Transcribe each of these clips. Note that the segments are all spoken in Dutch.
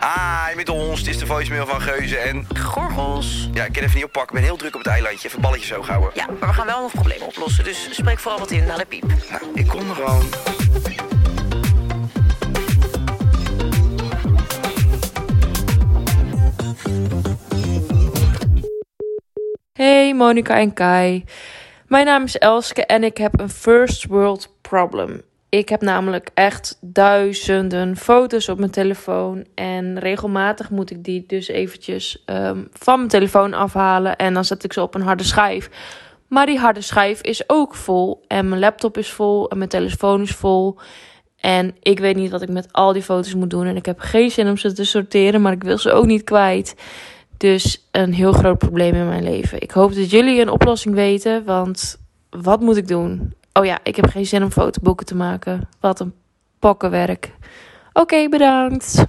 Hi, met ons. Dit is Ah, de voicemail van Geuze en... Gorgels. Ja, ik kan even niet oppakken. Ik ben heel druk op het eilandje. Even balletjes hoog houden. Ja, maar we gaan wel nog problemen oplossen. Dus spreek vooral wat in naar de piep. Nou, ik kom er gewoon. Hey Monica en Kai. Mijn naam is Elske en ik heb een first world problem. Ik heb namelijk echt duizenden foto's op mijn telefoon. En regelmatig moet ik die dus eventjes ehm, van mijn telefoon afhalen. En dan zet ik ze op een harde schijf. Maar die harde schijf is ook vol. En mijn laptop is vol. En mijn telefoon is vol. En ik weet niet wat ik met al die foto's moet doen. En ik heb geen zin om ze te sorteren. Maar ik wil ze ook niet kwijt. Dus een heel groot probleem in mijn leven. Ik hoop dat jullie een oplossing weten, want wat moet ik doen? Oh ja, ik heb geen zin om fotoboeken te maken. Wat een pokkenwerk. Oké, bedankt.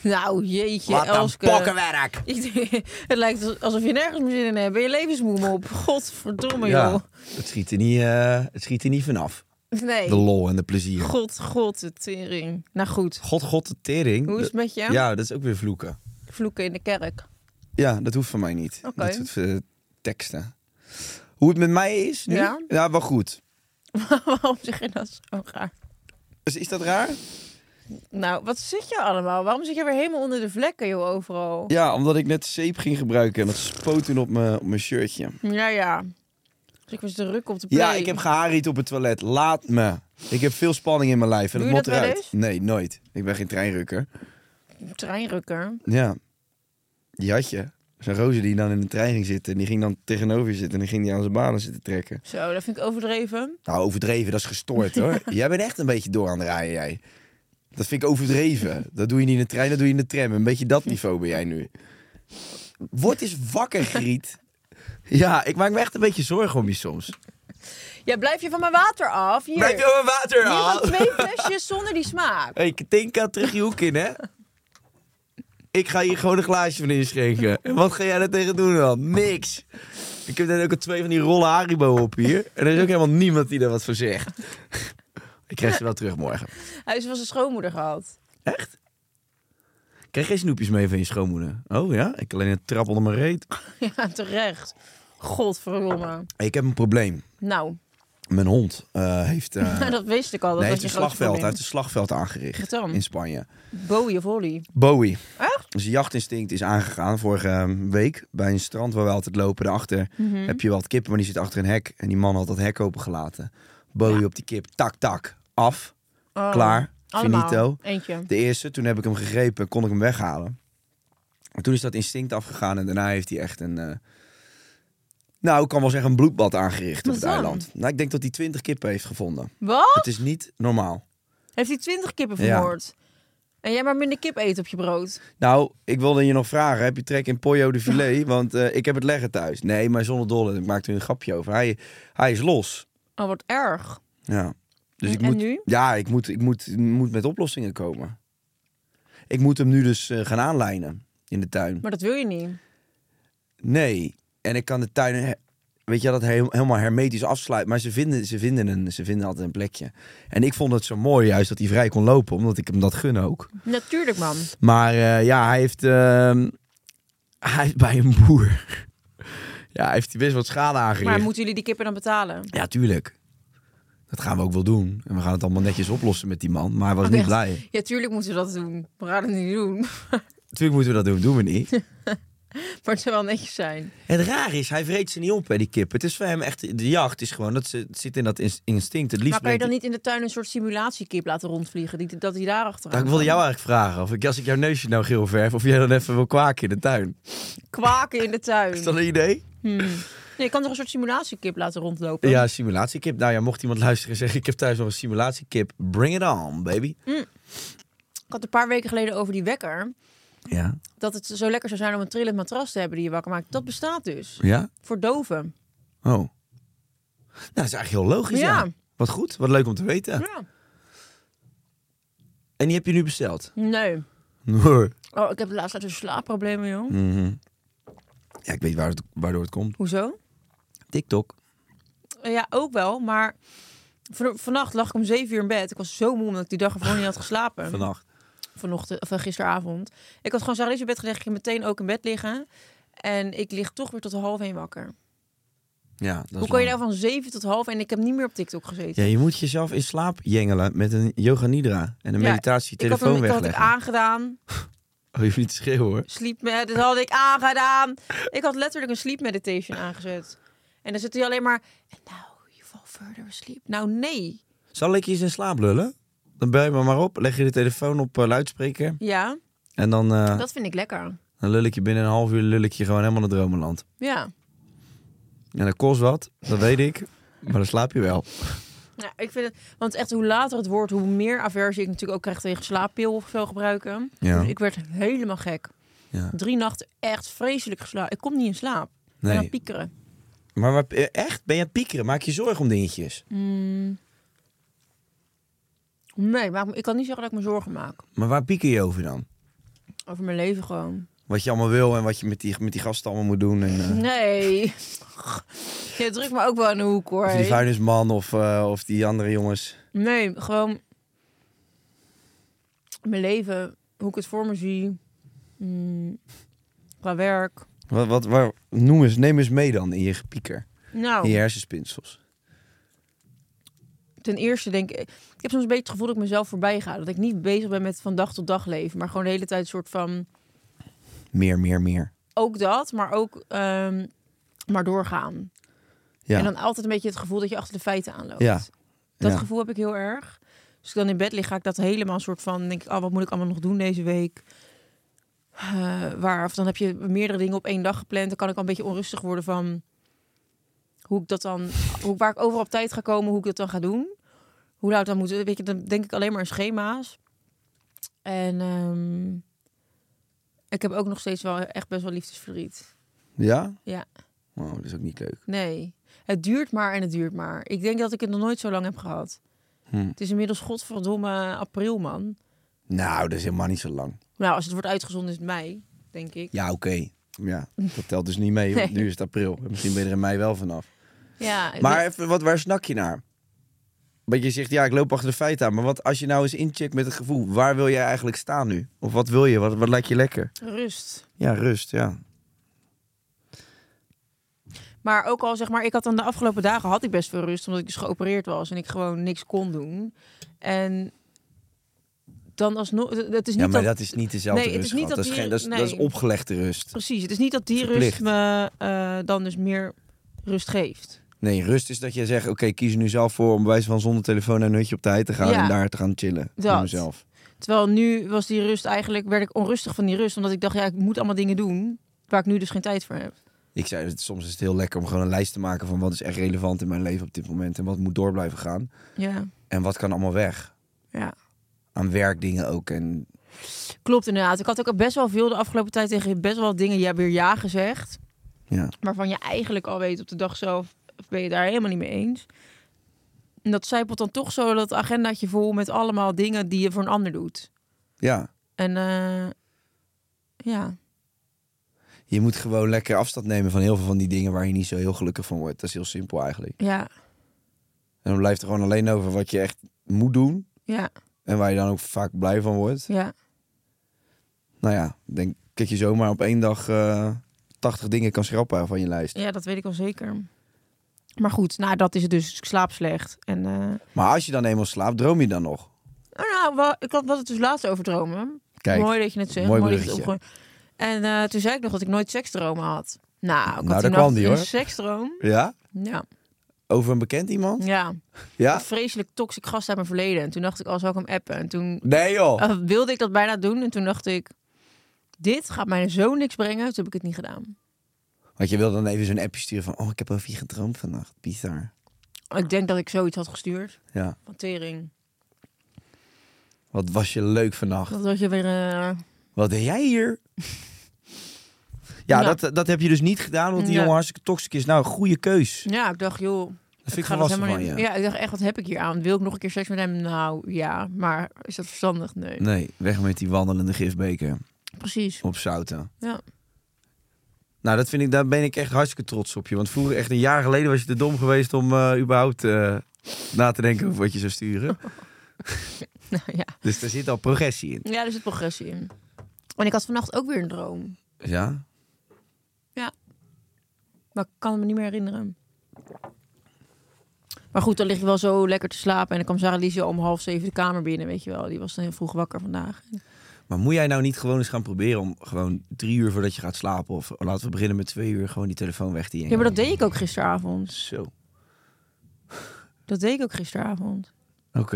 Nou, jeetje, Wat een Elske. pokkenwerk. het lijkt alsof je nergens meer zin in hebt. En je levensmoe me op. Godverdomme, joh. het schiet er niet, eh, het schiet er niet vanaf. Nee. De lol en de plezier. God, god, de tering. Nou goed, God, god, de tering. Hoe is het met jou? Ja, dat is ook weer vloeken. vloeken in de kerk. Ja, dat hoeft van mij niet. Oké. Dat soort eh, teksten. Hoe het met mij is nu? Ja. wel goed. Waarom zeg je dat zo raar? Dus is dat raar? Nou, wat zit je allemaal? Waarom zit je weer helemaal onder de vlekken, joh, overal? Ja, omdat ik net zeep ging gebruiken en dat spoot toen op mijn op mijn shirtje. Ja, ja. Dus ik was druk op de play. Ja, ik heb geharied op het toilet. Laat me. Ik heb veel spanning in mijn lijf en Doe het je moet dat wel eruit. eens? Nee, nooit. Ik ben geen treinrukker. Treinrukker. Ja. Die had je. Zo'n roze die dan in de trein ging zitten. En die ging dan tegenover je zitten. En die ging die aan zijn banen zitten trekken. Zo, dat vind ik overdreven. Nou, overdreven, dat is gestoord hoor. jij bent echt een beetje door aan het rijden, jij. Dat vind ik overdreven. Dat doe je niet in de trein, dat doe je in de tram. Een beetje dat niveau ben jij nu. Word eens wakker, Griet. Ja, ik maak me echt een beetje zorgen om je soms. Ja, blijf je van mijn water af. Hier, Blijf hier je mijn water gewoon aan. twee flesjes zonder die smaak. Hey, Katinka, terug je hoek in, hè? Ik ga hier gewoon een glaasje van inschenken. En wat ga jij daar tegen doen dan? Niks. Ik heb net ook al twee van die rollen Haribo op hier. En er is ook helemaal niemand die daar wat voor zegt. Ik krijg ze wel terug morgen. Hij is van zijn schoonmoeder gehad. Echt? Krijg geen snoepjes mee van je schoonmoeder? Oh ja? Ik alleen een trap onder mijn reet. Ja, terecht. Godverdomme. Hey, ik heb een probleem. Nou, Mijn hond eh, heeft... eh, dat wist ik al. Dat nee, was heeft je een grootste slagveld. Hij probleem. heeft een slagveld aangericht Wat dan? in Spanje. Bowie of Holly. Bowie. Echt? Zijn jachtinstinct is aangegaan vorige eh, week bij een strand waar we altijd lopen. Daarachter Mhm. heb je wel wat kippen, maar die zit achter een hek. En die man had dat hek opengelaten. Bowie op die kip, tak, tak, af, Oh, klaar, Allemaal. finito. Eentje. De eerste, toen heb ik hem gegrepen, kon ik hem weghalen. Maar toen is dat instinct afgegaan en daarna heeft hij echt een... eh, nou, ik kan wel zeggen een bloedbad aangericht op Wat het dan? eiland. Nou, ik denk dat hij 20 kippen heeft gevonden. Wat? Het is niet normaal. Heeft hij twintig kippen Ja. vermoord? En jij maar minder kip eet op je brood. Nou, ik wilde je nog vragen. Heb je trek in pollo de filet? Want eh, ik heb het leggen thuis. Nee, maar zonder dolle. Ik maakte er een grapje over. Hij, hij is los. Oh, wat erg. Ja. Dus ik En moet, nu? Ja, ik moet, ik moet, ik moet met oplossingen komen. Ik moet hem nu dus eh, gaan aanlijnen in de tuin. Maar dat wil je niet. Nee. En ik kan de tuin, he- weet je, dat heel- helemaal hermetisch afsluiten. Maar ze vinden, ze, vinden een, ze vinden altijd een plekje. En ik vond het zo mooi juist dat hij vrij kon lopen. Omdat ik hem dat gun ook. Natuurlijk, man. Maar eh, ja, hij heeft, ehm, hij heeft bij een boer. ja, hij heeft best wat schade aangericht. Maar moeten jullie die kippen dan betalen? Ja, tuurlijk. Dat gaan we ook wel doen. En we gaan het allemaal netjes oplossen met die man. Maar hij was Oh, niet echt? blij. Ja, tuurlijk moeten we dat doen. We gaan het niet doen. Natuurlijk moeten we dat doen, doen we niet. Maar het zou wel netjes zijn. Het raar is, hij vreet ze niet op bij die kip. Het is voor hem echt, de jacht is gewoon, dat ze, het zit in dat ins- instinct. Het liefst Maar kan je brengt- dan niet in de tuin een soort simulatiekip laten rondvliegen? Die, dat hij daar achteraan Nou, ik wilde kan? jou eigenlijk vragen, of ik, als ik jouw neusje nou geel verf, of jij dan even wil kwaken in de tuin. Kwaken in de Is tuin. dat een idee? Nee, je kan toch een soort simulatiekip laten rondlopen? Ja, simulatiekip. Nou ja, mocht iemand luisteren en zeggen, ik heb thuis nog een simulatiekip. Bring it on, baby. Ik had een paar weken geleden over die wekker. Ja. Dat het zo lekker zou zijn om een trillend matras te hebben die je wakker maakt. Dat bestaat dus. Ja? Voor doven. Oh. Nou, dat is eigenlijk heel logisch, ja. Ja. Wat goed, wat leuk om te weten. Ja. En die heb je nu besteld? Nee. Nee. Oh, ik heb de laatste tijd een slaapproblemen, joh. Hm. Ja, ik weet waar het- waardoor het komt. Hoezo? TikTok. Eh, Ja, ook wel, maar van- vannacht lag ik om zeven uur in bed. Ik was zo moe omdat ik die dag ervoor niet had geslapen. Vannacht. Vanochtend, of eh, gisteravond. Ik had gewoon Sarah's in bed gelegd. Ik ging meteen ook in bed liggen. En ik lig toch weer tot half één wakker. Ja, dat is Hoe kan je nou van zeven tot half één? Ik heb niet meer op TikTok gezeten. Ja, je moet jezelf in slaap jengelen met een yoga nidra en een Ja, meditatie ik had telefoon hem, ik had ik wegleggen. aangedaan. Oh, je hoeft niet te schreeuwen hoor. Sleep med, dat had ik aangedaan. Ik had letterlijk een sleep meditation aangezet. En dan zit hij alleen maar... En nou, you fall further asleep. Nou, nee. Zal ik je eens in slaap lullen? Dan bel je me maar op, leg je de telefoon op eh, luidspreker Ja, en dan, eh, dat vind ik lekker. dan lul ik je binnen een half uur lul ik je gewoon helemaal naar dromenland. Ja. En dat kost wat, dat weet ik, maar dan slaap je wel. ja, ik vind het... Want echt, hoe later het wordt, hoe meer aversie ik natuurlijk ook krijg tegen slaappil of zo gebruiken. Ja. Dus ik werd helemaal gek. Ja. Drie nachten echt vreselijk geslapen. Ik kom niet in slaap. Nee. En dan piekeren. Maar waar- eh, echt, ben je aan het piekeren? Maak je zorgen om dingetjes? Mm. Nee, maar ik kan niet zeggen dat ik me zorgen maak. Maar waar pieker je over dan? Over mijn leven gewoon. Wat je allemaal wil en wat je met die, met die gasten allemaal moet doen. En, eh, Nee. Je drukt me ook wel in de hoek hoor. of die vuilnisman of, eh, of die andere jongens. Nee, gewoon mijn leven, hoe ik het voor me zie, mm, qua werk. Wat, wat, waar, noem eens, neem eens mee dan in je pieker. Nou, In je hersenspinsels. ten eerste denk ik, ik heb soms een beetje het gevoel dat ik mezelf voorbij ga. Dat ik niet bezig ben met van dag tot dag leven, maar gewoon de hele tijd een soort van, Meer, meer, meer. ook dat, maar ook ehm, maar doorgaan. Ja. En dan altijd een beetje het gevoel dat je achter de feiten aanloopt. Ja. Dat Ja. gevoel heb ik heel erg. Als ik dan in bed lig, ga ik dat helemaal soort van... denk ik, oh, wat moet ik allemaal nog doen deze week? Eh, waar, of dan heb je meerdere dingen op één dag gepland. Dan kan ik al een beetje onrustig worden van... Hoe ik dat dan, hoe, waar ik over op tijd ga komen, hoe ik dat dan ga doen. Hoe laat dan moet, weet je, dan denk ik alleen maar in schema's. En ehm, ik heb ook nog steeds wel echt best wel liefdesverdriet. ja? Ja. Wow, dat is ook niet leuk. Nee. Het duurt maar en het duurt maar. Ik denk dat ik het nog nooit zo lang heb gehad. Hm. Het is inmiddels godverdomme april, man. Nou, dat is helemaal niet zo lang. Nou, als het wordt uitgezonden is het mei, denk ik. Ja, oké. Ja, dat telt dus niet mee. want Nee. Nu is het april. Misschien ben je er in mei wel vanaf. Ja, Maar ik- even, wat, waar snak je naar? Want je zegt, ja, ik loop achter de feiten aan. Maar wat als je nou eens incheckt met het gevoel, waar wil jij eigenlijk staan nu? Of wat wil je? Wat, wat lijkt je lekker? rust. Ja, rust, ja. Maar ook al zeg maar, ik had dan de afgelopen dagen had ik best veel rust, omdat ik dus geopereerd was en ik gewoon niks kon doen. En dan alsnog, het is niet Ja, maar dat, dat is niet dezelfde Nee, het rust. is niet schat. dat, dat is hier- geen, dat, is, nee. dat is opgelegde rust. precies. Het is niet dat die Verplicht. rust me eh, dan dus meer rust geeft. Nee, rust is dat jij zegt, oké, kies er nu zelf voor om bij wijze van zonder telefoon naar een hutje op tijd te gaan Ja. en daar te gaan chillen. Dat. Voor mezelf. Terwijl nu was die rust eigenlijk, werd ik onrustig van die rust, omdat ik dacht, ja, ik moet allemaal dingen doen waar ik nu dus geen tijd voor heb. Ik zei, het- soms is het heel lekker om gewoon een lijst te maken van wat is echt relevant in mijn leven op dit moment en wat moet door blijven gaan. Ja, En wat kan allemaal weg. ja. Aan werkdingen ook. En Klopt inderdaad. Ik had ook best wel veel de afgelopen tijd tegen je best wel wat dingen. Je hebt weer ja gezegd. ja, Waarvan je eigenlijk al weet op de dag zelf. Ben je daar helemaal niet mee eens. En dat zijpelt dan toch zo dat agendaatje vol met allemaal dingen die je voor een ander doet. ja. En eh, ja. je moet gewoon lekker afstand nemen van heel veel van die dingen waar je niet zo heel gelukkig van wordt. Dat is heel simpel eigenlijk. Ja. En dan blijft er gewoon alleen over wat je echt moet doen Ja. en waar je dan ook vaak blij van wordt. Ja. Nou ja, ik denk dat je zomaar op één dag eh 80 dingen kan schrappen van je lijst. Ja, dat weet ik wel zeker. Maar goed, nou dat is het dus. Ik slaap slecht. En, eh, Maar als je dan eenmaal slaapt, droom je dan nog? oh, nou, wa- ik had wat het dus laatst over dromen. Kijk, Mooi dat je het zegt. mooi Mooi dat je het bruggetje. opgooit. En eh, toen zei ik nog dat ik nooit seksdromen had. Nou, ik had daar die kwam nacht die, hoor. een seksdroom. ja? Ja, Over een bekend iemand? ja. Ja? Een vreselijk toxic gast uit mijn verleden. En toen dacht ik, al zou ik hem appen. En toen Nee joh. eh, wilde ik dat bijna doen. En toen dacht ik, dit gaat mij zo niks brengen. Toen heb ik het niet gedaan. Want je wil dan even zo'n appje sturen van, oh, ik heb over je gedroomd vannacht. Bizar. Ik denk dat ik zoiets had gestuurd. Ja. Van tering. Wat was je leuk vannacht. Dat was je weer... eh, Wat deed jij hier? Ja, Ja. Dat, dat heb je dus niet gedaan, want die Nee. jongen hartstikke toxisch is. Nou, goede keus. Ja, ik dacht, joh... Dat vind ik ga dat volwassen van helemaal je. niet- Ja, ik dacht echt, wat heb ik hier aan? Wil ik nog een keer seks met hem? Nou, ja. Maar is dat verstandig? Nee. Nee, weg met die wandelende gifbeker Precies. op zouten. Ja. Nou, dat vind ik, daar ben ik echt hartstikke trots op je. Want vroeger, echt een jaar geleden, was je te dom geweest om eh, überhaupt eh, na te denken over wat je zou sturen. Nou, ja. Dus daar zit al progressie in. ja, er zit progressie in. En ik had vannacht ook weer een droom. Ja? Maar ik kan me niet meer herinneren. Maar goed, dan lig je wel zo lekker te slapen. En dan kwam Sarah Lise om half zeven de kamer binnen, weet je wel. Die was dan heel vroeg wakker vandaag. Maar moet jij nou niet gewoon eens gaan proberen om gewoon drie uur voordat je gaat slapen... of laten we beginnen met twee uur, gewoon die telefoon weg te Ja, maar dat deed ik ook gisteravond. Zo. Oké. Dat deed ik ook gisteravond. Dat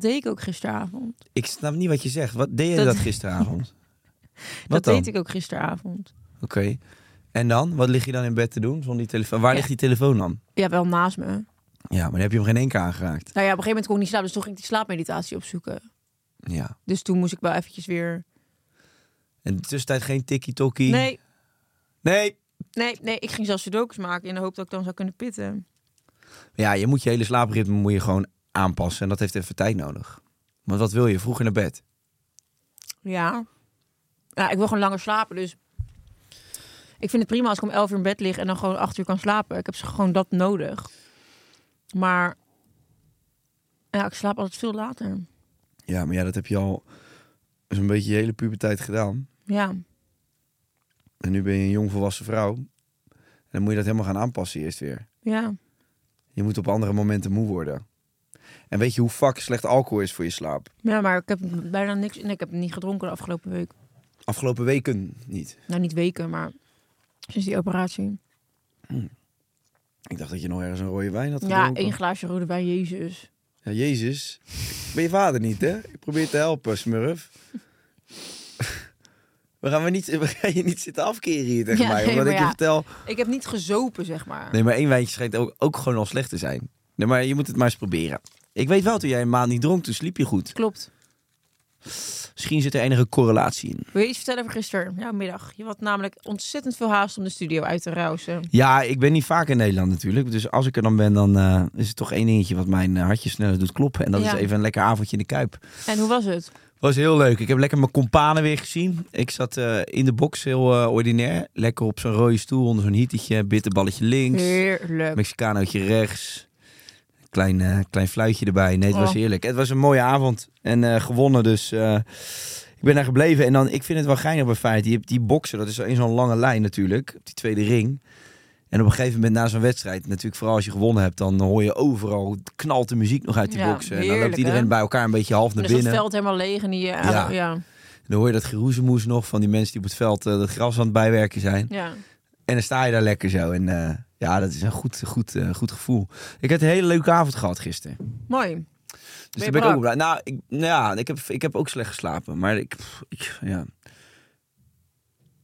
deed ik ook gisteravond. Ik snap niet wat je zegt. Wat deed je dat, Dat- gisteravond? dat Wat dan? deed ik ook gisteravond. Oké. En dan? Wat lig je dan in bed te doen zonder die telefoon? Waar Ja. ligt die telefoon dan? Ja, wel naast me. Nou Ja, maar dan heb je hem geen enkele aangeraakt. ja, op een gegeven moment kon ik niet slapen. Dus toen ging ik die slaapmeditatie opzoeken. Ja. Dus toen moest ik wel eventjes weer... En in de tussentijd geen tikkie-tokkie? Nee, Nee. nee, nee. Ik ging zelfs sudokus maken in de hoop dat ik dan zou kunnen pitten. Ja, je moet je hele slaapritme moet je gewoon aanpassen. En dat heeft even tijd nodig. Want wat wil je? Vroeg naar bed. Ja. ja. Ik wil gewoon langer slapen, dus... Ik vind het prima als ik om 11 uur in bed lig en dan gewoon 8 uur kan slapen. Ik heb ze gewoon dat nodig. Maar... Ja, ik slaap altijd veel later. Ja, maar ja, dat heb je al zo'n beetje je hele puberteit gedaan. Ja. En nu ben je een jong volwassen vrouw. En dan moet je dat helemaal gaan aanpassen eerst weer. Ja. Je moet op andere momenten moe worden. En weet je hoe fuck slecht alcohol is voor je slaap? Ja, maar ik heb bijna niks... Nee, ik heb niet gedronken de afgelopen week. Afgelopen weken niet. Nou, niet weken, maar... Sinds die operatie. Ik dacht dat je nog ergens een rode wijn had Ja, gedronken. één glaasje rode wijn, Jezus. Ja, Jezus. Ben je vader niet, hè? Ik probeer te helpen, smurf. We gaan, we, niet, we gaan je niet zitten afkeren hier tegen Ja, mij. nee, Omdat maar ik je ja. vertel... Ik heb niet gezopen, zeg maar. Nee, maar één wijntje schijnt ook, ook gewoon al slecht te zijn. Nee, maar je moet het maar eens proberen. Ik weet wel, toen jij een maand niet dronk, toen sliep je goed. Klopt. Misschien zit er enige correlatie in. Wil je iets vertellen over gisteren? Ja, middag. Je had namelijk ontzettend veel haast om de studio uit te rousen. Ja, ik ben niet vaak in Nederland natuurlijk. Dus als ik er dan ben, dan eh, is het toch één dingetje wat mijn eh, hartje sneller doet kloppen. En dat Ja. is even een lekker avondje in de Kuip. En hoe was het? Was heel leuk. Ik heb lekker mijn companen weer gezien. Ik zat eh, in de box, heel eh, ordinair. Lekker op zo'n rode stoel onder zo'n hietetje. Bitterballetje links. Heerlijk. Mexicanootje rechts. Klein, eh, klein fluitje erbij. Nee, het was Oh. heerlijk. Het was een mooie avond. En eh, gewonnen, dus eh, ik ben daar gebleven. En dan, ik vind het wel geinig bij feit. Je hebt die boksen, dat is in zo'n lange lijn natuurlijk. Op die tweede ring. En op een gegeven moment na zo'n wedstrijd, natuurlijk vooral als je gewonnen hebt, dan hoor je overal, knalt de muziek nog uit die Ja, boksen. en dan heerlijk, loopt iedereen hè? bij elkaar een beetje half Dan naar is het binnen. Dus veld helemaal leeg en die... eh, Ja. ah, ja. Dan hoor je dat geroezemoes nog van die mensen die op het veld eh, dat gras aan het bijwerken zijn. ja. En dan sta je daar lekker zo. En eh, ja, dat is een goed, goed, eh, goed gevoel. Ik heb een hele leuke avond gehad gisteren. Mooi. Dus je daar ben ik ook blij. brak? Nou, ik, nou ja, ik heb, ik heb ook slecht geslapen. Maar ik, pff, ik, ja.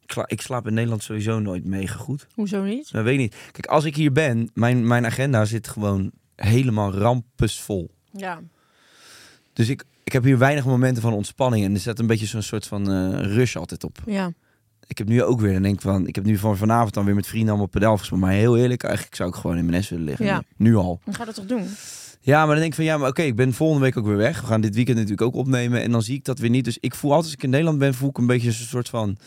Ik sla- ik slaap in Nederland sowieso nooit mega goed. Hoezo niet? Dat weet ik niet. Kijk, als ik hier ben, mijn, mijn agenda zit gewoon helemaal rampesvol. Ja. Dus ik, ik heb hier weinig momenten van ontspanning. En er zit een beetje zo'n soort van eh, rush altijd op. Ja. ik heb nu ook weer, dan denk ik van, ik heb nu van vanavond dan weer met vrienden allemaal pedel gespeeld. Maar heel eerlijk, eigenlijk zou ik gewoon in mijn nest willen liggen. Ja. Nu, nu al. Dan ga je dat toch doen? Ja, maar dan denk ik van, ja, maar oké, ik ben volgende week ook weer weg. We gaan dit weekend natuurlijk ook opnemen. En dan zie ik dat weer niet. Dus ik voel altijd als ik in Nederland ben, voel ik een beetje een soort van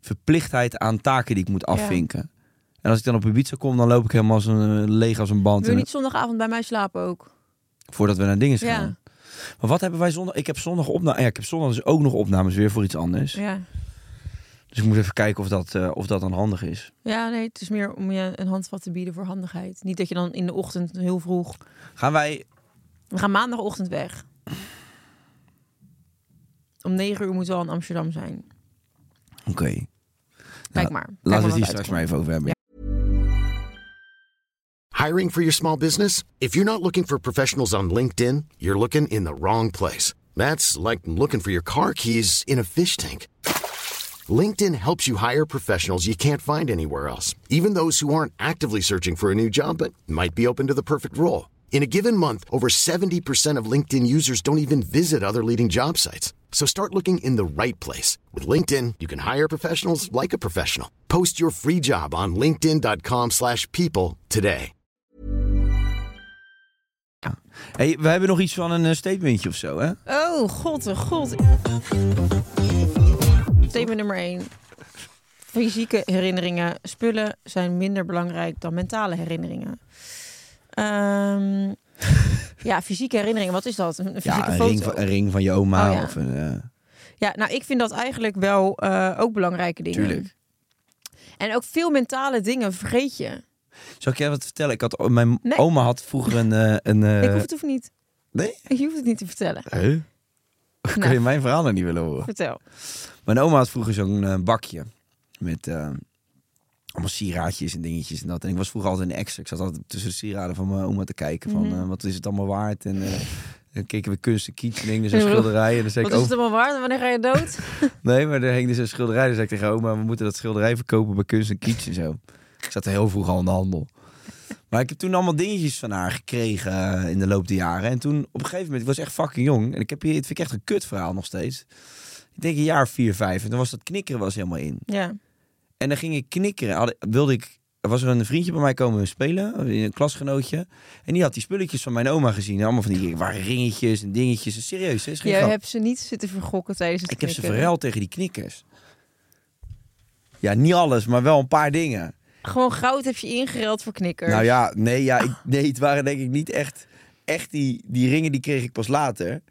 verplichtheid aan taken die ik moet afvinken. En als ik dan op Ibiza kom, dan loop ik helemaal als een, eh, leeg als een band. Wil je En- niet zondagavond bij mij slapen ook? Voordat we naar dingen Ja. gaan. ah Maar wat hebben wij zondag? Ik heb zondag opna. Ja, ik heb zondag dus ook nog opnames weer voor iets anders. Ja. Dus ik moet even kijken of dat, eh, of dat dan handig is. Ja, nee, het is meer om je een handvat te bieden voor handigheid. Niet dat je dan in de ochtend heel vroeg... Gaan wij... We gaan maandagochtend weg. Om negen uur moeten we al in Amsterdam zijn. Oké, Kijk Nou, maar. Kijk laten we het wat hier straks maar uitkomt. even over hebben. Hiring for your small business? If you're not looking for professionals on LinkedIn, you're looking in the wrong place. That's like looking for your car keys in a fish tank. LinkedIn helps you hire professionals you can't find anywhere else, even those who aren't actively searching for a new job but might be open to the perfect role. In a given month, over 70% of LinkedIn users don't even visit other leading job sites. So start looking in the right place. With LinkedIn, you can hire professionals like a professional. Post your free job on linkedin.com/people slash people today. Hey, we hebben nog iets van een eh, statementje of zo, hè? Oh, god, oh, god. Thema nummer 1. Fysieke herinneringen. Spullen zijn minder belangrijk dan mentale herinneringen. Ehm, ja, fysieke herinneringen. Wat is dat? Een fysieke Ja, een foto? ring, van, een ring van je oma Oh, ja. of een... eh, Ja, nou, ik vind dat eigenlijk wel eh, ook belangrijke dingen. Tuurlijk. En ook veel mentale dingen vergeet je. Zal ik je wat vertellen? Ik had, mijn Nee. oma had vroeger een... eh, een eh, ik hoef het of niet. Nee? Je hoeft het niet te vertellen. Huh? Kun Nou. je mijn verhaal nou niet willen horen? Vertel. Mijn oma had vroeger zo'n eh, bakje met eh, allemaal sieraadjes en dingetjes en dat. En ik was vroeger altijd een extra. Ik zat altijd tussen de sieraden van mijn oma te kijken van Mhm. eh, wat is het allemaal waard. En eh, dan keken we kunst en kitchen, hing dus een Ik bedoel, schilderij. En dan zei Wat ik, is oh, het allemaal waard? en Wanneer ga je dood? nee, maar er hing dus een schilderij. Dan zei ik tegen oma, we moeten dat schilderij verkopen bij kunst en kitchen en zo. Ik zat er heel vroeg al in de handel. Maar ik heb toen allemaal dingetjes van haar gekregen eh, in de loop der jaren. En toen op een gegeven moment, ik was echt fucking jong. En ik heb hier, het vind ik echt een kut verhaal nog steeds. Ik denk een jaar of vier, vijf. En toen was dat knikkeren was helemaal in. ja. En dan ging ik knikkeren. Had, wilde ik, er was er een vriendje bij mij komen spelen, een klasgenootje. En die had die spulletjes van mijn oma gezien. Allemaal van die waren ringetjes en dingetjes. En serieus, hè, is geen Jij grap. hebt ze niet zitten vergokken tijdens het Ik heb ze knikkeren. verruild tegen die knikkers. Ja, niet alles, maar wel een paar dingen. Gewoon goud heb je ingereld voor knikkers. Nou ja, nee, ja, ik, nee het waren denk ik niet echt... Echt die, die ringen, die kreeg ik pas later.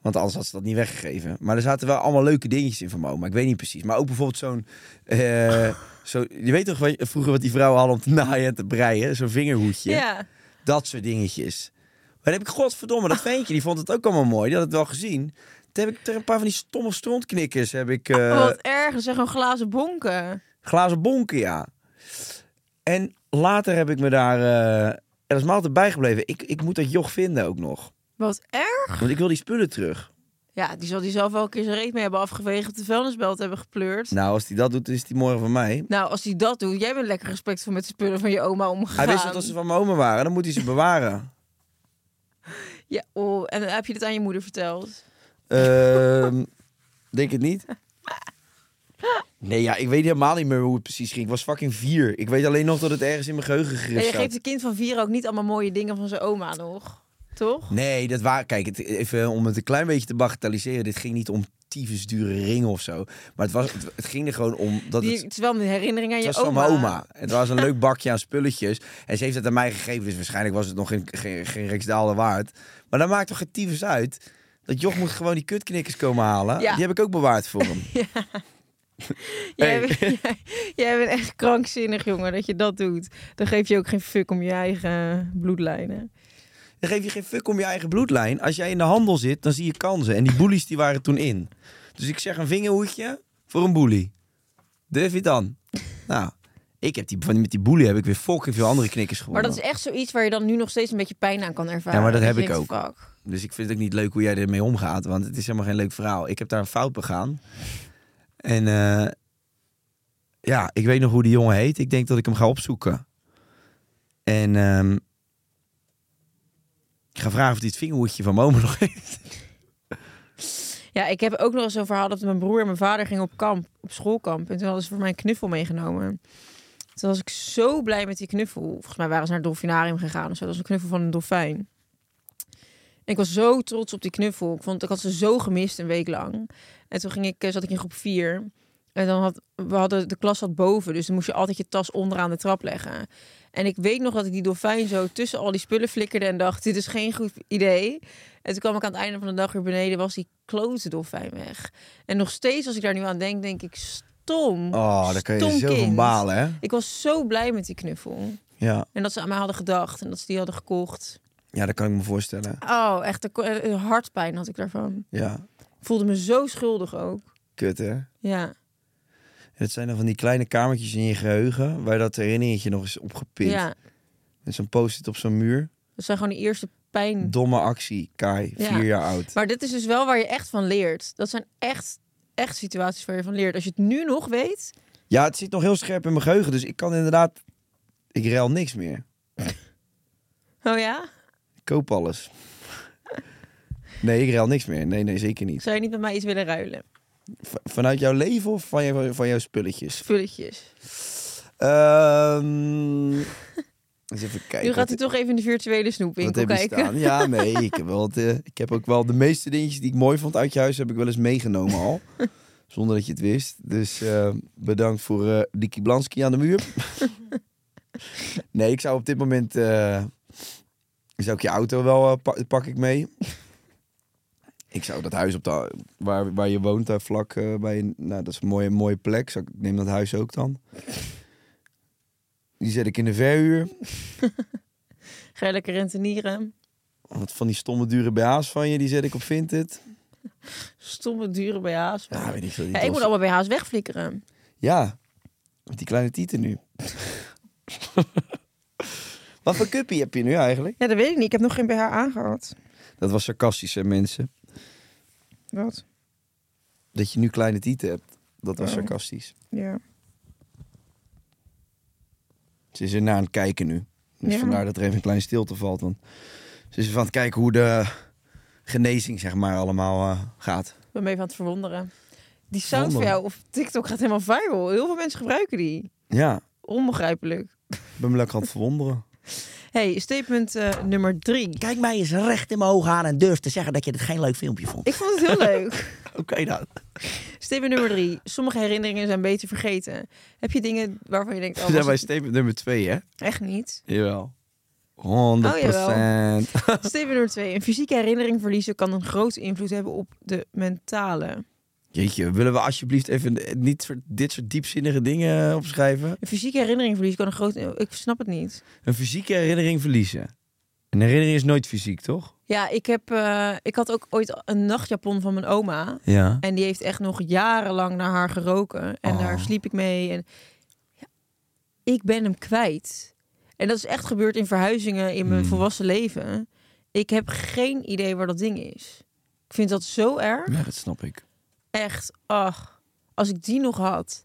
Want anders had ze dat niet weggegeven. Maar er zaten wel allemaal leuke dingetjes in van mijn oma. Ik weet niet precies. Maar ook bijvoorbeeld zo'n... eh, zo, je weet toch wat, vroeger wat die vrouwen hadden om te naaien en te breien? Zo'n vingerhoedje. Ja. Dat soort dingetjes. Maar dan heb ik, godverdomme, dat ventje, die vond het ook allemaal mooi. Die had het wel gezien. Toen heb ik er een paar van die stomme strontknikkers heb ik... eh, Oh, Wat erg, dat zijn gewoon glazen bonken. glazen bonken, ja. En later heb ik me daar... eh, en dat is me altijd bijgebleven. Ik, ik moet dat joch vinden ook nog. Wat erg. Want ik wil die spullen terug. Ja, die zal die zelf wel een keer zijn reet mee hebben afgeveegd. op De vuilnisbelt hebben gepleurd. Nou. Nou, als hij dat doet, is die morgen van mij. als hij dat doet, jij bent lekker respectvol met de spullen van je oma omgegaan. Hij wist dat als ze van mijn oma waren, dan moet hij ze bewaren. Ja, oh, en heb je dit aan je moeder verteld? Ehm, denk het niet. Nee, ja, ik weet helemaal niet meer hoe het precies ging. Ik was fucking vier. Ik weet alleen nog dat het ergens in mijn geheugen En je gericht geeft zat. een kind van vier ook niet allemaal mooie dingen van zijn oma nog. Toch? Nee, dat waren... Kijk, het, even om het een klein beetje te bagatelliseren. Dit ging niet om tyfus dure ringen of zo. Maar het, was, het, het ging er gewoon om... Dat Die, het, het is wel een herinnering aan Het was je van oma. mijn oma. Het was een leuk bakje aan spulletjes. En ze heeft het aan mij gegeven, dus waarschijnlijk was het nog geen, geen, geen Riksdaalder waard. Maar dat maakt toch geen tyfus uit? Dat joch moet gewoon die kutknikkers komen halen. Ja. Die heb ik ook bewaard voor hem. Jij, Hey. bent, jij, jij bent echt krankzinnig, jongen, dat je dat doet. Dan geef je ook geen fuck om je eigen bloedlijnen. Dan geef je geen fuck om je eigen bloedlijn. Als jij in de handel zit, dan zie je kansen. En die boelies die waren toen in. Dus ik zeg een vingerhoedje voor een boelie. Durf je het dan? nou, ik heb die, van- met die boelie heb ik weer fucking veel andere knikkers Maar gewonnen. dat is echt zoiets waar je dan nu nog steeds een beetje pijn aan kan ervaren. Ja, maar dat je heb ik denkt, fuck. Dus ik vind het ook niet leuk hoe jij ermee omgaat, want het is helemaal geen leuk verhaal. Ik heb daar een fout begaan. En eh, ja, ik weet nog hoe die jongen heet. Ik denk dat ik hem ga opzoeken. En ehm, ik ga vragen of hij het vingerhoedje van Momo nog heeft. Ja, ik heb ook nog eens zo'n verhaal dat mijn broer en mijn vader gingen op kamp, op schoolkamp. En toen hadden ze voor mij een knuffel meegenomen. Toen was ik zo blij met die knuffel. Volgens mij waren ze naar het dolfinarium gegaan of zo. Dat was een knuffel van een dolfijn. En ik was zo trots op die knuffel. Ik, vond, ik had ze zo gemist een week lang. En toen ging ik, eh, zat ik in groep 4. En dan had, we hadden, de klas zat boven. Dus dan moest je altijd je tas onderaan de trap leggen. En ik weet nog dat ik die dolfijn zo tussen al die spullen flikkerde. En dacht, dit is geen goed idee. En toen kwam ik aan het einde van de dag weer beneden, was die klote dolfijn weg. En nog steeds, als ik daar nu aan denk, denk ik, stom. Oh, daar kun je Stom zo van kind. balen, hè? Ik was zo blij met die knuffel. Ja. En dat ze aan mij hadden gedacht en dat ze die hadden gekocht. ja, dat kan ik me voorstellen. Oh, echt, ik- eh, hartpijn had ik daarvan. Ja, Ik voelde me zo schuldig ook. kut hè? Ja, Het zijn dan van die kleine kamertjes in je geheugen... waar dat herinneringetje nog eens opgepind. ja. Met zo'n post-it op zo'n muur. Dat zijn gewoon de eerste pijn. Domme actie, Kai, Ja. vier jaar oud. Maar dit is dus wel waar je echt van leert. Dat zijn echt, echt situaties waar je van leert. Als je het nu nog weet, Ja, het zit nog heel scherp in mijn geheugen, dus ik kan inderdaad... Ik ruil niks meer. oh ja, Ik koop alles. Nee, ik ruil niks meer. Nee, nee, zeker niet. zou je niet met mij iets willen ruilen? V- vanuit jouw leven of van, jou- van jouw spulletjes? Spulletjes. Ehm eens even kijken. Nu gaat hij toch even in de virtuele wat snoepwinkel heb je kijken. staan? Ja, nee, ik heb, wel de, ik heb ook wel de meeste dingetjes die ik mooi vond uit je huis, heb ik wel eens meegenomen al. Zonder dat je het wist. Dus eh, bedankt voor eh Dikkie Blansky aan de muur. nee, ik zou op dit moment... eh, zou ik je auto wel eh, pa- pak ik mee. Ik zou dat huis op de, waar, waar je woont, daar vlak eh, bij... Nou, dat is een mooie, mooie plek. Zou ik, neem dat huis ook dan. Die zet ik in de verhuur. Ga je lekker rentenieren. Wat van die stomme dure BH's van je, die zet ik op Vinted. Stomme, dure BH's. Ja, weet ik veel. die Ja, ik doos- moet allemaal BH's wegflikkeren. Ja, met die kleine tieten nu. Wat voor cuppie heb je nu eigenlijk? Ja, dat weet ik niet. Ik heb nog geen BH aangehad. Dat was sarcastisch, hè, mensen. Wat? Dat je nu kleine tieten hebt, dat was Oh. sarcastisch. Ja. Ze is ernaar aan het kijken nu. Dus Ja. vandaar dat er even een kleine stilte valt. Want ze is even aan het kijken hoe de genezing, zeg maar, allemaal eh, gaat. Ik ben me even aan het verwonderen. Die sound van Verwonderen. jou op TikTok gaat helemaal viral. Heel veel mensen gebruiken die. Ja, Onbegrijpelijk. ik ben me lekker aan het verwonderen. hey, statement eh, nummer drie. Kijk mij eens recht in mijn ogen aan en durf te zeggen dat je dit geen leuk filmpje vond. Ik vond het heel leuk. Oké dan. Statement nummer drie. Sommige herinneringen zijn beter vergeten. Heb je dingen waarvan je denkt, oh, We zijn was bij het statement nummer twee, hè? echt niet? Jawel. 100%. Oh, Statement nummer twee. Een fysieke herinnering verliezen kan een grote invloed hebben op de mentale. Jeetje, willen we alsjeblieft even eh, niet soort- dit soort diepzinnige dingen eh, opschrijven? Een fysieke herinnering verliezen kan een grote... Ik snap het niet. Een fysieke herinnering verliezen. Een herinnering is nooit fysiek, toch? Ja, ik, heb, eh, ik had ook ooit een nachtjapon van mijn oma. Ja. En die heeft echt nog jarenlang naar haar geroken. En Oh. daar sliep ik mee. En ja, ik ben hem kwijt. En dat is echt gebeurd in verhuizingen in mijn Hmm. volwassen leven. Ik heb geen idee waar dat ding is. Ik vind dat zo erg. Ja, dat snap ik. Echt, ach, als ik die nog had.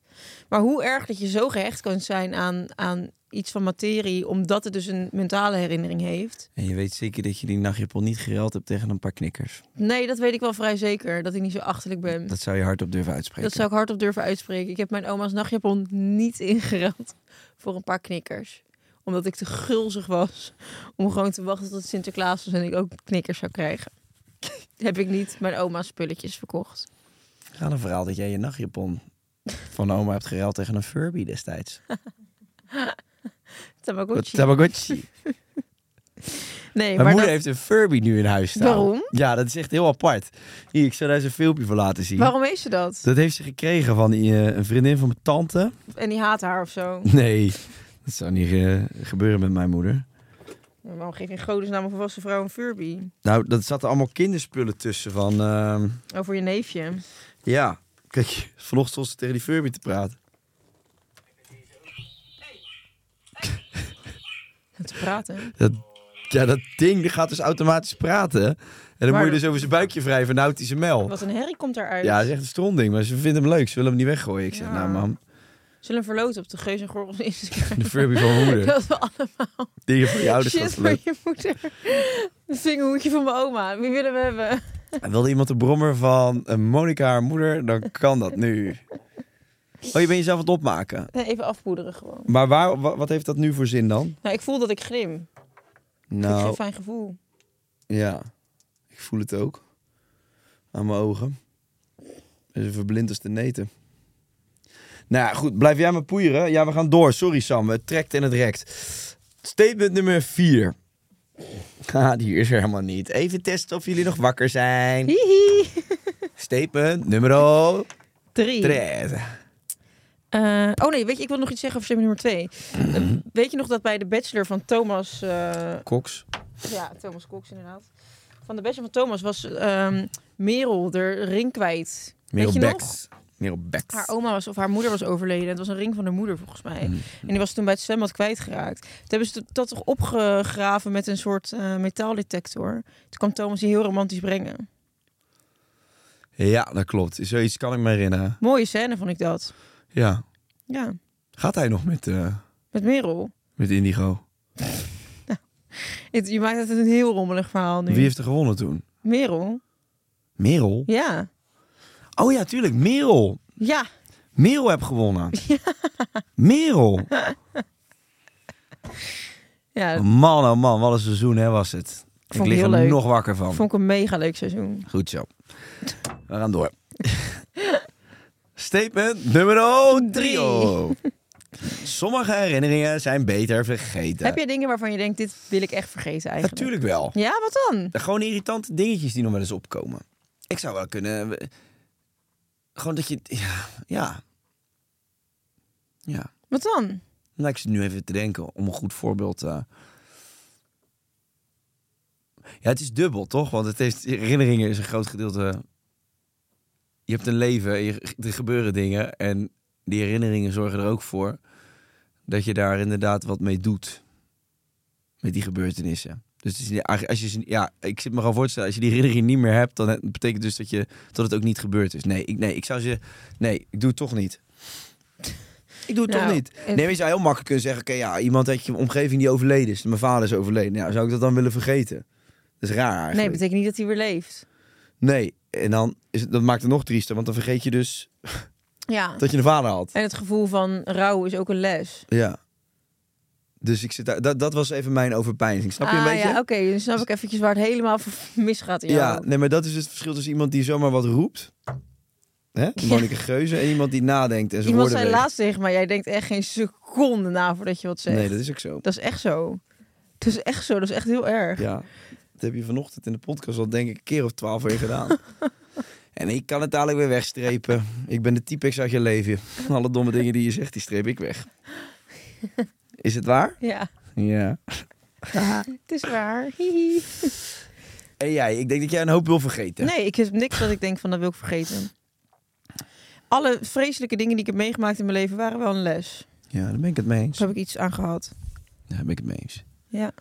Maar hoe erg dat je zo gehecht kunt zijn aan, aan iets van materie, omdat het dus een mentale herinnering heeft. En je weet zeker dat je die nachtjapon niet gereld hebt tegen een paar knikkers. Nee, dat weet ik wel vrij zeker, dat ik niet zo achterlijk ben. Dat zou je hardop durven uitspreken. Ehm. Dat zou ik hardop durven uitspreken. Ik heb mijn oma's nachtjapon niet ingereld voor een paar knikkers. Omdat ik te gulzig was om gewoon te wachten tot het Sinterklaas was en ik ook knikkers zou krijgen. heb ik niet mijn oma's spulletjes verkocht. Gaat een verhaal dat jij je nachtjapon van oma hebt gereld tegen een Furby destijds. Tamagotchi. Tamagotchi. Nee, Mijn maar moeder dat- heeft een Furby nu in huis staan. Waarom? Ja, dat is echt heel apart. Hier, ik zou daar eens een filmpje voor laten zien. waarom heeft ze dat? Dat heeft ze gekregen van die, eh, een vriendin van mijn tante. En die haat haar of zo. Nee, dat zou niet eh, gebeuren met mijn moeder. Maar Waarom geef je in godesnaam een volwassen vrouw een Furby? Nou, dat zaten allemaal kinderspullen tussen van... ehm, Over je neefje. ja, kijk, vanochtend stond ze tegen die Furby te praten. En te praten. Dat, ja, dat ding die gaat dus automatisch praten. En dan Maar- moet je dus over zijn buikje wrijven, nou houdt hij zijn mel. Wat een herrie komt daaruit. Ja, dat is echt een stronding, maar ze vindt hem leuk. Ze willen hem niet weggooien. Ik zeg, Ja. nou mam, Zullen we verloten op de Geus en Gorgels Instagram? de Furby van mijn moeder. Dat we allemaal Die van je ouders Shit was voor leuk. je moeder. Een vingerhoedje van mijn oma. Wie willen we hebben? En wilde iemand de brommer van eh, Monica haar moeder, dan kan dat nu. Oh, je bent jezelf aan het opmaken. Nee, Even afpoederen gewoon. Maar waar, wa- wat heeft dat nu voor zin dan? Nou, ik voel dat ik grim. Ik heb Nou, geen fijn gevoel. ja. Ik voel het ook. Aan mijn ogen. Het is verblind als de neten. Nou ja, goed. Blijf jij maar poeieren. Ja, we gaan door. Sorry Sam. Het trekt en het rekt. Statement nummer 4. Ah, die is er helemaal niet. Even testen of jullie nog wakker zijn. Hihi. Statement nummer Drie. 3. Eh, oh nee, weet je, ik wil nog iets zeggen over stemmen nummer twee. Mhm. Eh, weet je nog dat bij de Bachelor van Thomas... eh, Koks. Ja, Thomas Cox inderdaad. Van de beste van Thomas was ehm, Merel de ring kwijt. Merel Weet je nog? Backs. Merel Backs. Haar oma was, of haar moeder was overleden. Het was een ring van haar moeder volgens mij. Mm. En die was toen bij het zwembad kwijtgeraakt. Toen hebben ze dat toch opgegraven met een soort eh, metaaldetector. Toen kwam Thomas die heel romantisch brengen. Ja, dat klopt. Zoiets kan ik me herinneren. Mooie scène vond ik dat. Ja. Ja, Gaat hij nog met, eh, met Merel. met Indigo? Het- je maakt het een heel rommelig verhaal nu. Wie heeft er gewonnen toen? Merel? Merel? Ja. Oh ja, tuurlijk. Merel. Ja. Merel heb gewonnen. Merel. Ja, dat Man, oh man, wat een seizoen hè, was het. Ik, Vond ik lig er heel leuk. nog wakker van. vond ik een mega leuk seizoen. Goed zo. We gaan door. Statement nummer 3. Sommige herinneringen zijn beter vergeten. Heb jij dingen waarvan je denkt, dit wil ik echt vergeten eigenlijk? Natuurlijk wel. Ja, wat dan? Gewoon irritante dingetjes die nog wel eens opkomen. Ik zou wel kunnen... we- Gewoon dat je... Ja. Ja. ja. Wat dan? Nou, ik zit nu even te denken om een goed voorbeeld... eh. Ja, het is dubbel, toch? Want het heeft, herinneringen is een groot gedeelte... Je hebt een leven, je, er gebeuren dingen. En die herinneringen zorgen er ook voor... dat je daar inderdaad wat mee doet. Met die gebeurtenissen. Dus het is niet- eigenlijk, als je, ze- ja, ik zit me gewoon voor te stellen... als je die herinnering niet meer hebt... dan het- betekent dus dat, je, dat het ook niet gebeurd is. Nee ik, nee, ik zou ze... Nee, ik doe het toch niet. Ik doe het Nou, toch niet. het- Nee, maar je zou heel makkelijk kunnen zeggen... oké, ja, iemand uit je omgeving die overleden is. Mijn vader is overleden. Ja, zou ik dat dan willen vergeten? Dat is raar eigenlijk. Nee, betekent niet dat hij weer leeft. Nee, en dan is het, dat maakt het nog triester, want dan vergeet je dus Ja. dat je een vader had. En het gevoel van rouw is ook een les. Ja. Dus ik zit daar, dat, dat was even mijn overpeinzing. Snap je een ah, beetje? ja, oké. dan snap ik eventjes waar het helemaal voor misgaat in jou. ja, nee, maar dat is het verschil tussen iemand die zomaar wat roept, hè? Monika Geuze, en iemand die nadenkt en zijn Iemand woorden zei weegt. laatst tegen mij, jij denkt echt geen seconde na voordat je wat zegt. Nee, dat is ook zo. Dat is echt zo. Dat is echt zo. Dat is echt heel erg. Ja. Dat heb je vanochtend in de podcast al denk ik een keer of twaalf weer gedaan. en ik kan het dadelijk weer wegstrepen. Ik ben de typex uit je leven. Alle domme dingen die je zegt, die streep ik weg. Is het waar? Ja, Ja. het is waar. Hihi. En jij, ik denk dat jij een hoop wil vergeten. Nee, ik heb niks dat ik denk van dat wil ik vergeten. Alle vreselijke dingen die ik heb meegemaakt in mijn leven waren wel een les. Ja, daar ben ik het mee eens. Daar heb ik iets aan gehad. Daar ben ik het mee eens. Ja.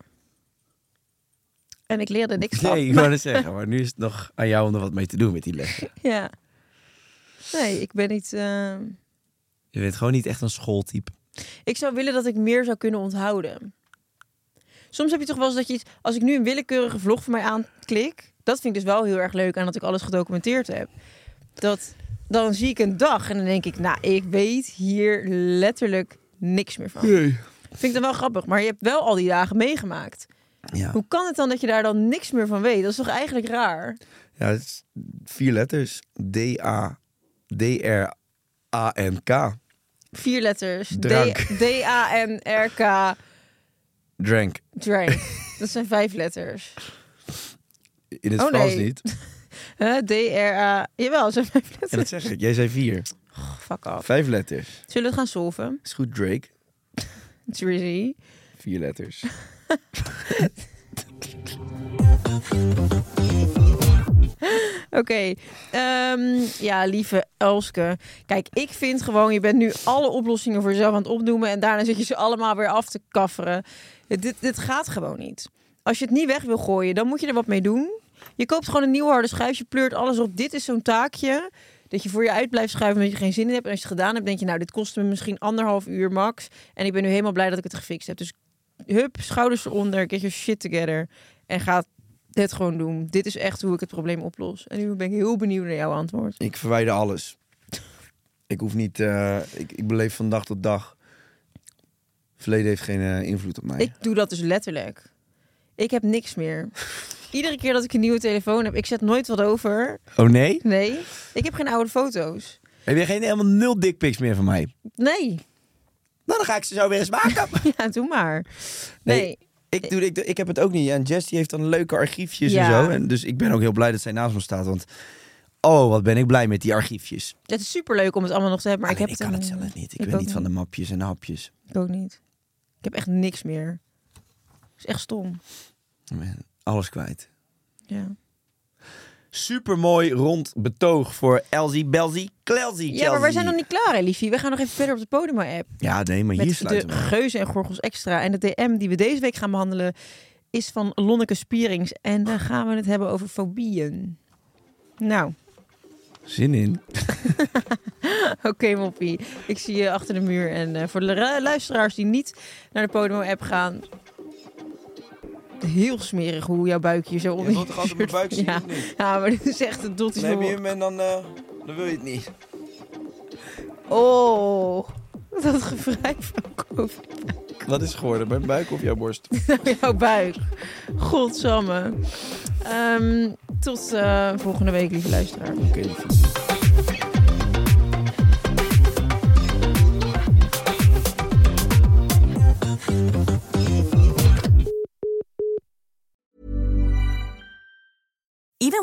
En ik leerde niks van. Nee, ik wou het zeggen, maar nu is het nog aan jou om er wat mee te doen met die lessen. Ja. Nee, ik ben niet. eh, Je bent gewoon niet echt een schooltype. Ik zou willen dat ik meer zou kunnen onthouden. Soms heb je toch wel eens dat je iets. Als ik nu een willekeurige vlog van mij aanklik, dat vind ik dus wel heel erg leuk aan dat ik alles gedocumenteerd heb. Dat dan zie ik een dag en dan denk ik, nou, ik weet hier letterlijk niks meer van. Vind ik dan wel grappig, maar je hebt wel al die dagen meegemaakt. Ja. Hoe kan het dan dat je daar dan niks meer van weet? Dat is toch eigenlijk raar? ja, het is vier letters. D-A-D-R-A-N-K. Vier letters. D- Drank. D-A-N-R-K. Drank. Drank. Dat zijn vijf letters. In het Oh, Frans nee. niet. Huh? D-R-A. Jawel, dat zijn vijf letters. En dat zeg ik. Jij zei vier. Fuck off. Vijf letters. Zullen we het gaan solven? Is goed, Drake. Drizzy. Vier letters. Oké. ehm, ja, lieve Elske. Kijk, ik vind gewoon, je bent nu alle oplossingen voor jezelf aan het opnoemen. En daarna zit je ze allemaal weer af te kafferen. Dit, dit gaat gewoon niet. Als je het niet weg wil gooien, dan moet je er wat mee doen. Je koopt gewoon een nieuw harde schuif. Je pleurt alles op. Dit is zo'n taakje. Dat je voor je uit blijft schuiven omdat je er geen zin in hebt. En als je het gedaan hebt, denk je, nou, dit kostte me misschien anderhalf uur max. En ik ben nu helemaal blij dat ik het gefixt heb. Dus hup, schouders eronder, get your shit together. En ga dit gewoon doen. Dit is echt hoe ik het probleem oplos. En nu ben ik heel benieuwd naar jouw antwoord. Ik verwijder alles. Ik hoef niet... eh, ik, ik beleef van dag tot dag. Verleden heeft geen eh, invloed op mij. Ik doe dat dus letterlijk. Ik heb niks meer. Iedere keer dat ik een nieuwe telefoon heb, ik zet nooit wat over. Oh nee? Nee, ik heb geen oude foto's. Heb jij geen helemaal nul dickpics meer van mij? Nee, Nou, dan ga ik ze zo weer eens maken. ja, doe maar. Nee, Nee, ik, doe, ik, doe- ik heb het ook niet. En Jess die heeft dan leuke archiefjes Ja. en zo. En dus ik ben ook heel blij dat zij naast me staat. Want oh, wat ben ik blij met die archiefjes. Het is superleuk om het allemaal nog te hebben, maar Alleen, ik Ah, ik kan heb het eh, zelf niet. Ik, ik ben ook niet van de niet. mapjes en de hapjes. Ik ook niet. Ik heb echt niks meer. Het is echt stom. Ik ben Alles kwijt. Ja. Supermooi rond betoog voor Elsie, Belzie, Klelsie. ja, maar wij zijn nog niet klaar, hè, liefie. We gaan nog even verder op de Podimo-app. Ja, nee, maar hier Met sluiten de we. af. geuzen en gorgels extra. En de DM die we deze week gaan behandelen is van Lonneke Spierings. En dan gaan we het hebben over fobieën. Nou, Zin in. oké moppie. Ik zie je achter de muur. En eh, voor de lu- luisteraars die niet naar de Podimo-app gaan... Heel smerig hoe jouw buik hier zo onder wilt toch altijd mijn buik zien, Ja. of niet? ja, maar dit is echt een dotty. Neem je hem en dan, eh, dan wil je het niet. Oh, dat gevrijf van COVID. Wat is geworden? Mijn buik of jouw borst? Jouw buik. Godsamme. Ehm, tot eh, volgende week, lieve luisteraar. Oké, liefie. Even